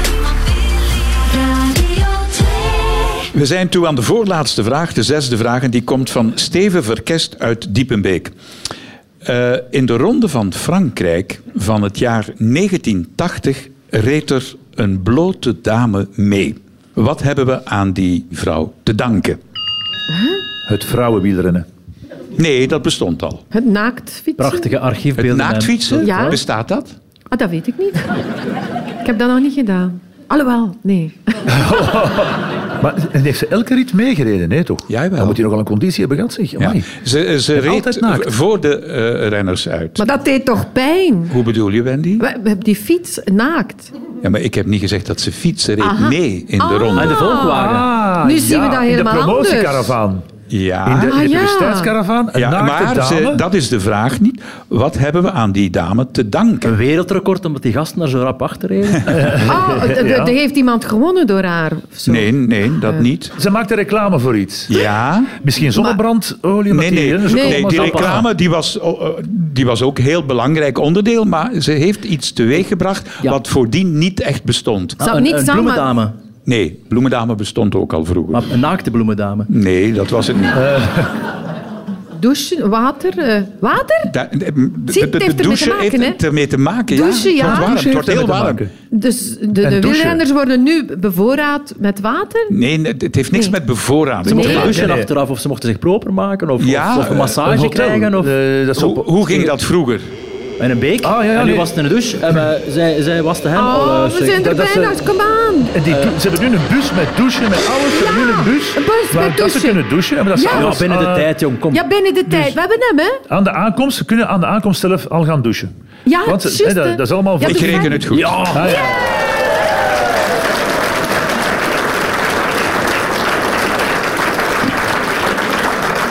F: Radio 2.
B: We zijn toe aan de voorlaatste vraag, de zesde vraag. En die komt van Steven Verkest uit Diepenbeek. Eh, in de ronde van Frankrijk van het jaar 1980 reed er een blote dame mee. Wat hebben we aan die vrouw te danken?
C: Het vrouwenwielrennen.
B: Nee, dat bestond al.
D: Het naaktfietsen.
E: Prachtige
B: Het
E: archiefbeelden. en-
B: naaktfietsen,
D: Ja.
B: bestaat dat?
D: Ah, dat weet ik niet. ik heb dat nog niet gedaan. Alhoewel, nee.
C: Maar en heeft ze elke rit meegereden, nee toch?
B: Jawel.
C: Dan moet hij nogal een conditie hebben gehad, zeg.
B: Ja.
C: Amai.
B: Ze, ze
C: En
B: reed
C: altijd naakt.
B: voor de eh, renners uit.
D: Maar dat deed toch pijn?
B: Hoe bedoel je, Wendy?
D: We we hebben die fiets naakt.
B: Ja, maar ik heb niet gezegd dat ze fietsen reed
D: Aha.
B: mee in de
D: Ah.
B: ronde.
E: Ah, de volkswagen.
C: Ah,
D: Nu zien we dat helemaal
C: In de
D: anders.
C: promotiekaravaan.
B: Ja.
C: In de,
D: Ah,
C: in de
D: ja.
C: publiciteitskaravaan. Een
B: Ja,
C: naakte
B: maar
C: dame.
B: ze- dat is de vraag niet. Wat hebben we aan die dame te danken?
E: Een wereldrecord omdat die gasten daar zo rap achter reden.
D: Oh, d- d-
C: Ja.
D: d- heeft iemand gewonnen door haar? of zo?
B: Nee, nee, dat niet.
C: Ze maakte reclame voor iets.
B: Ja.
C: Misschien zonnebrandolie?
B: Nee,
C: omdat die-
B: nee.
C: hè, ze
D: Nee.
B: nee
C: komen
B: die
C: zo-
B: reclame die was, oh, oh, die was ook heel belangrijk onderdeel, maar ze heeft iets teweeggebracht
E: Ja.
B: wat voordien niet echt bestond.
D: Zou
E: Ah, een,
D: niet
E: een
D: samen-
E: bloemendame.
B: Nee, Bloemendame bestond ook al vroeger.
E: Maar een naakte bloemendame.
B: Nee, dat was het niet.
D: Douchen, water. eh, water?
B: Da- de- de-
D: Zie, het
B: de-
D: heeft
B: de
D: ermee te
B: douche
D: maken, hè?
B: heeft ermee te maken. Ja,
D: Douchen, ja.
B: Het wordt warm,
C: Douche
B: het wordt
C: heeft
B: heel
C: ermee te
B: warm.
C: maken.
D: Dus de, de
C: douchen.
D: wielrenners worden nu bevoorraad met water?
B: Nee, nee, het heeft niks
D: Nee.
B: met bevoorrading
E: Ze
B: te
E: mochten
B: maken.
E: douchen
C: nee, nee.
E: achteraf, of ze mochten zich proper maken, of,
B: Ja,
E: of, of een
B: eh,
E: massage
C: Een hotel.
E: krijgen, of
C: Eh, dat is op-
B: Hoe, hoe ging dat vroeger?
E: in een beek.
C: Ah, ja, ja,
E: en nu
C: nee.
E: was het in de douche. En,
C: *laughs*
E: eh, zij, zij waste hem al.
D: Oh,
E: eh,
D: we zijn er
C: dat is, eh,
D: bijna. uit, Kom aan.
C: En
B: Eh.
C: die, ze hebben nu een bus met douchen, met alles. Ze hebben nu een bus
D: een bus
C: waar
D: met
C: dat ze
D: douchen.
C: kunnen douchen. Maar dat ze
D: Ja.
E: ja,
C: alles,
E: binnen de
C: eh,
E: tijd, jong. Kom.
D: Ja, binnen de tijd. We hebben hem, hè?
C: Aan de aankomst, ze kunnen aan de aankomst zelf al gaan douchen.
D: Ja,
C: Want ze-
D: juist,
C: hè, dat,
D: hè.
C: dat is allemaal...
D: Ja,
C: voor-
B: Ik
D: dus
B: reken
D: hij-
B: het goed.
C: Ah, ja.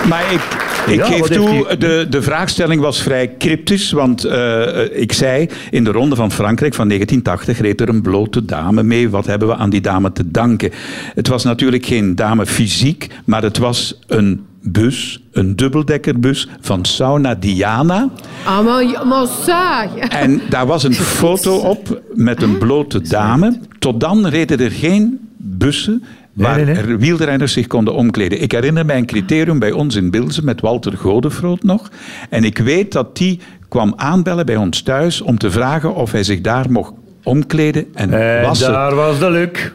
B: Maar ik, Ik
C: Ja,
B: geef
C: wat heeft
B: toe, eh,
C: hij-
B: de, de vraagstelling was vrij cryptisch, want eh, eh, ik zei in de Ronde van Frankrijk van 1980 reed er een blote dame mee. Wat hebben we aan die dame te danken? Het was natuurlijk geen dame fysiek, maar het was een bus, een dubbeldekkerbus van Sauna Diana.
D: Ah, maar, maar zeg.
B: En daar was een foto op met een blote dame. Tot dan reden er geen bussen waar
C: nee, nee.
B: er wielrenners zich konden omkleden. Ik herinner mij een criterium bij ons in Bilzen met Walter Godefroot nog. En ik weet dat die kwam aanbellen bij ons thuis om te vragen of hij zich daar mocht omkleden en
C: En
B: wassen.
C: Eh, daar was de luk.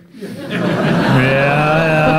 C: Ja, ja.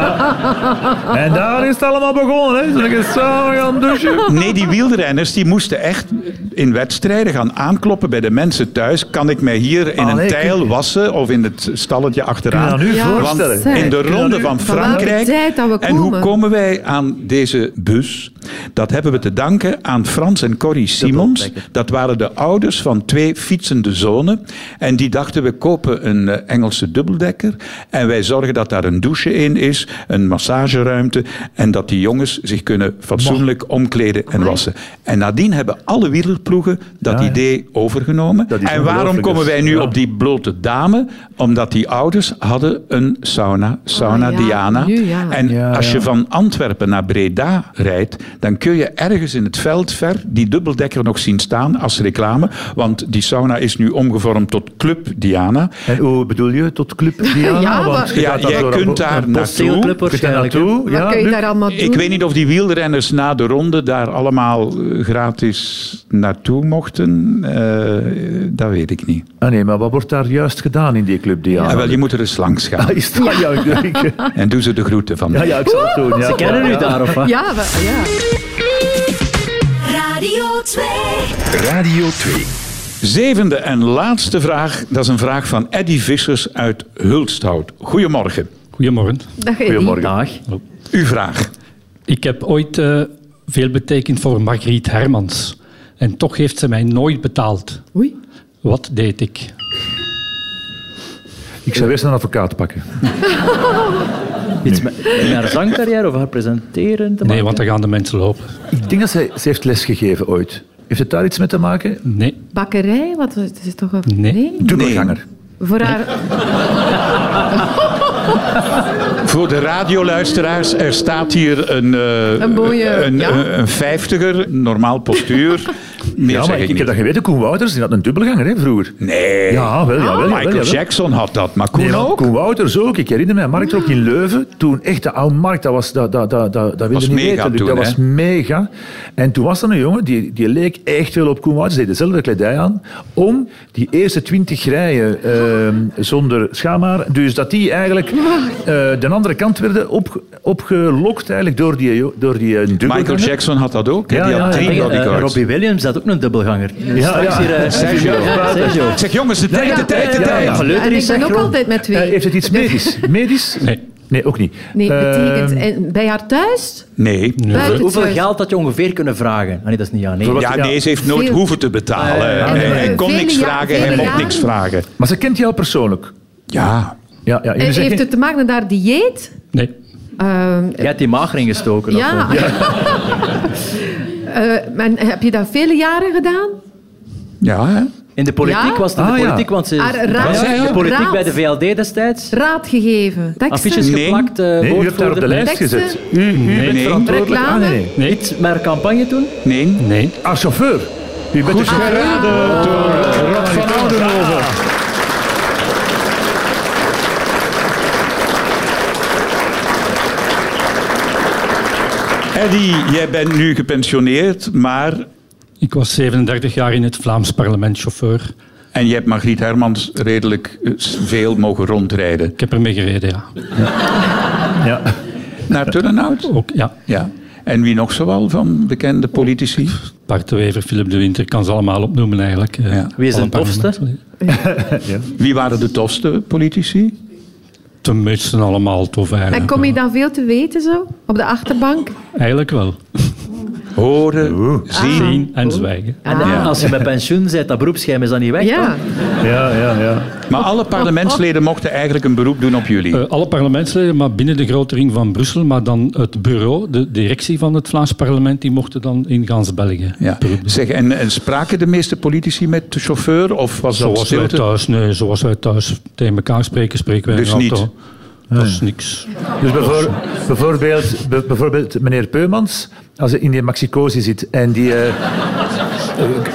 C: En daar is het allemaal begonnen, hè. Toen ik eens zo gaan douchen.
B: Nee, die wielrenners die moesten echt in wedstrijden gaan aankloppen bij de mensen thuis. Kan ik mij hier in
C: Ah,
B: een
C: nee,
B: tijl
C: kun je-
B: wassen of in het stalletje achteraan?
C: Kun je dat nu
D: Ja,
C: voorstellen?
D: zeg.
B: In de
C: Kun je
B: ronde
C: dat nu-
B: van
D: Van welke
B: Frankrijk.
D: tijd dat we
B: en hoe
D: komen?
B: komen wij aan deze bus? Dat hebben we te danken aan Frans en Corrie Simons. Dat waren de ouders van twee fietsende zonen. En die dachten, we kopen een eh, Engelse dubbeldekker. En wij zorgen dat daar een douche in is, een massageruimte. En dat die jongens zich kunnen fatsoenlijk omkleden en wassen. En nadien hebben alle wielerploegen dat
C: Ja, ja.
B: idee overgenomen.
C: Dat is
B: En waarom
C: ongelooflijk,
B: komen
C: dus.
B: wij nu
C: Ja.
B: op die blote dame? Omdat die ouders hadden een sauna, sauna
D: Ah, ja,
B: Diana.
D: nu ja.
B: En
C: Ja,
B: als je
C: ja.
B: van Antwerpen naar Breda rijdt, dan kun je ergens in het veld ver die dubbeldekker nog zien staan als reclame. Want die sauna is nu omgevormd tot Club Diana.
C: En hoe bedoel je? Tot Club Diana?
D: Ja,
C: Want
D: maar-
C: je
B: Ja,
C: gaat daar
B: jij
C: door een
B: kunt
C: bo-
B: daar
C: een
B: naartoe.
E: postzegel-
C: Je kunt daar naartoe.
D: Wat
C: Ja,
D: kun je
C: Luc?
D: daar allemaal doen?
B: Ik weet niet of die wielrenners na de ronde daar allemaal eh, gratis naartoe mochten. Eh, dat weet ik niet.
C: Ah, nee, maar wat wordt daar juist gedaan in die Club Diana?
B: Ah, wel, je moet er eens langs
C: *laughs*
B: gaan.
C: Ah, is dat ja. ik denk-
B: En doe ze de groeten van
C: Ja, ja, ik zal het doen. Ja.
E: Ze kennen u
C: Ja.
E: daar, of wat?
D: Ja, we- ja.
F: Radio 2.
A: Radio 2.
B: Zevende en laatste vraag. Dat is een vraag van Eddy Vissers uit Hulsthout. Goedemorgen.
J: Goedemorgen.
D: Dag, Eddy.
C: Goedemorgen.
E: Dag.
B: Uw vraag.
J: Ik heb ooit eh, veel betekend voor Margriet Hermans. En toch heeft ze mij nooit betaald.
D: Oei.
J: Wat deed ik?
C: Ik zou eerst een advocaat pakken.
E: Iets met met haar zangcarrière of haar presenteren te
J: Nee,
E: maken?
J: want dan gaan de mensen lopen.
C: Ik denk dat zij, ze heeft lesgegeven ooit. Heeft het daar iets mee te maken?
J: Nee,
D: Bakkerij, wat het is toch een...
J: Nee.
C: Dubbelganger.
D: Voor haar...
B: Voor de radioluisteraars, er staat hier een, eh,
D: Een mooie,
B: een,
D: ja.
B: een- een vijftiger, normaal
D: *laughs*
B: postuur. Meer
C: Ja,
B: zeg
C: maar
B: ik,
C: ik, heb
B: niet.
C: dat geweten. Koen Wouters die had een dubbelganger hè, vroeger.
B: Nee. Ah,
C: Ja, wel, ja, wel.
B: Oh, Michael Jackson had dat, maar Koen
C: Nee, want
B: ook.
C: Koen Wouters ook. Ik herinner mij, Markt ook in Leuven. Toen echt de oude markt, dat was, dat, dat, dat, dat, dat wil
B: Was
C: je niet
B: mega
C: weten. Luc.
B: toen,
C: dat
B: hè?
C: was mega. En toen was er een jongen, die, die leek echt veel op Koen Wouters. Die deed dezelfde kledij aan. Om die eerste twintig rijen ehm, zonder schaamhaar. Dus dat die eigenlijk eh, de andere kant werden op, opgelokt eigenlijk door die, jo- door die eh, dubbelganger.
B: Michael Jackson had dat ook. hè.
C: Ja,
B: Die
C: ja,
B: had
C: ja,
B: drie
E: Hey, eh,
B: bodyguards.
E: Robbie Williams had ook een dubbelganger.
C: ja.
E: Straks hier, eh,
B: Sergio.
E: Ja, Sergio.
B: Zeg jongens, de tijd, de tijd, de
C: ja,
B: tijd.
C: ja.
E: Geleuter
D: En
E: is
D: ik ben ook
E: synchroon.
D: altijd met
C: Eh,
D: twee.
C: heeft het iets
D: *laughs*
C: medisch? medisch?
J: nee.
C: Nee, ook niet.
D: Nee, betekent...
C: Ehm,
D: En bij haar thuis?
B: Nee.
D: Buiten het
E: Hoeveel
D: huis.
E: geld had je ongeveer kunnen vragen? Ah, nee, dat is niet ja. Nee.
B: Ja, nee, ze heeft nooit
D: Veel.
B: hoeven te betalen.
E: Eh,
B: Hij-
D: en, eh,
B: hij kon
D: vele
B: niks
D: ja-
B: vragen,
D: vele
B: hij mocht
D: jaren-
B: niks vragen.
C: maar ze kent jou persoonlijk.
B: Ja,
C: Ja, ja, jullie
D: Eh,
C: zeggen-
D: Heeft het te maken met haar dieet?
J: nee.
D: Ehm,
E: Jij hebt die mager ingestoken. of
D: ja.
E: wat?
D: *laughs* Eh, en heb je dat vele jaren gedaan?
B: ja hè?
E: In de politiek
D: Ja?
E: was het in de
C: Ah, ja.
E: politiek, want ze
D: Ah, raad.
E: was in
B: Ja, ja.
E: de politiek
D: Raad.
E: bij de VLD destijds.
D: Raad gegeven, teksten,
E: Affiches
B: Nee.
E: geplakt, eh
C: Nee, u hebt daar op de
E: woordvoerder.
C: lijst
D: Teksten?
C: gezet. U, u bent
B: nee.
C: verantwoordelijk.
D: Reclame?
C: Ah, nee, nee.
J: Nee.
E: Iets met haar campagne toen.
B: Nee.
J: Nee.
C: Ah, chauffeur. U bent de chauffeur door Rod van Oudenhoven.
B: Eddy, jij bent nu gepensioneerd, maar...
J: Ik was 37 jaar in het Vlaams parlement chauffeur.
B: En je hebt Margriet Hermans redelijk eh, s- veel mogen rondrijden.
J: Ik heb ermee gereden, ja.
C: Ja.
B: Naar Turnhout?
J: Ook, ja.
B: Ja. En wie nog zoal van bekende politici?
J: Bart de Wever, Philip de Winter, ik kan ze allemaal opnoemen eigenlijk. eh,
B: Ja.
E: Wie is
J: al
E: de
J: een paar
E: tofste?
J: momenten geleden.
B: Wie waren de tofste politici?
J: Tenminste allemaal tof
I: ah,
D: En
J: eigenlijk.
D: kom je dan veel te weten zo, op de achterbank?
J: Eigenlijk wel.
B: horen,
C: Ah.
B: zien.
J: zien en zwijgen.
E: En als je met pensioen bent, dat beroepsgeheim is dan niet weg.
D: Ah, Ja,
C: Ja, ja, ja.
B: Maar alle parlementsleden mochten eigenlijk een beroep doen op jullie.
J: Eh, alle parlementsleden, maar binnen de grote ring van Brussel, maar dan het bureau, de directie van het Vlaams parlement, die mochten dan in gans België.
B: Ja. Zeg, en, en spraken de meeste politici met de chauffeur? Of was dat
J: Zoals wij
B: stilte?
J: thuis, nee, zoals wij thuis tegen elkaar spreken, spreken wij in
B: Dus
J: de auto.
B: niet?
J: Dat is niks.
C: Dus bijvoor- bijvoorbeeld, bij- bijvoorbeeld meneer Peumans, als hij in die maxicosi zit en die... eh, eh,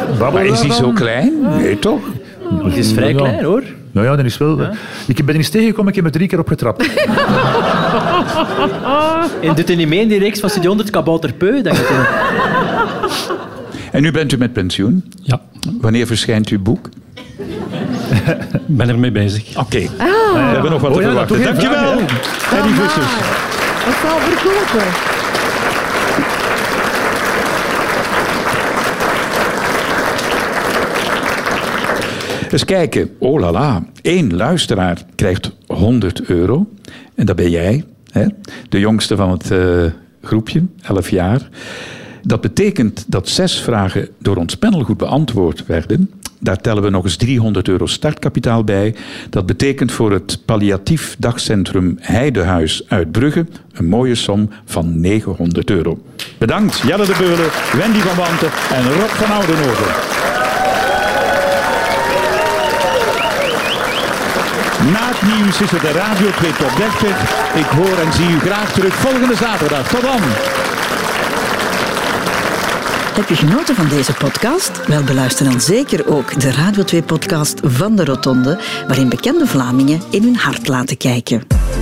C: babbelt
B: Maar is hij zo
C: daarvan.
B: klein? Nee, toch?
E: Het is vrij
C: Ja.
E: klein hoor.
C: Nou ja, dat is wel... Ik ben er eens tegengekomen, ik heb er drie keer op getrapt.
E: En doet hij niet mee in die reeks van Studio 100 Kabouter Peu? Dat je het-
B: En nu bent u met pensioen.
J: Ja,
B: Wanneer verschijnt uw boek?
J: ik ben ermee bezig.
B: Oké. We hebben nog wat
C: Oh
B: te
C: ja, dat
B: verwachten.
C: doe geen
B: Dankjewel.
D: dan maar. Ah, Dat zal verkopen.
B: Eens kijken. Oh la la. Eén luisteraar krijgt 100 euro. En dat ben jij. Hè? De jongste van het eh, groepje. 11 jaar. Dat betekent dat zes vragen door ons panel goed beantwoord werden. Daar tellen we nog eens 300 euro startkapitaal bij. Dat betekent voor het palliatief dagcentrum Heidehuis uit Brugge een mooie som van 900 euro. Bedankt Jelle de Beulen, Wendy van Wanten en Rob van Oudenhoven. Na het nieuws is het de Radio 2 Top 30. Ik hoor en zie u graag terug volgende zaterdag. Tot dan.
K: Heb je genoten van deze podcast? Wel, beluister dan zeker ook de Radio 2-podcast van de Rotonde, waarin bekende Vlamingen in hun hart laten kijken.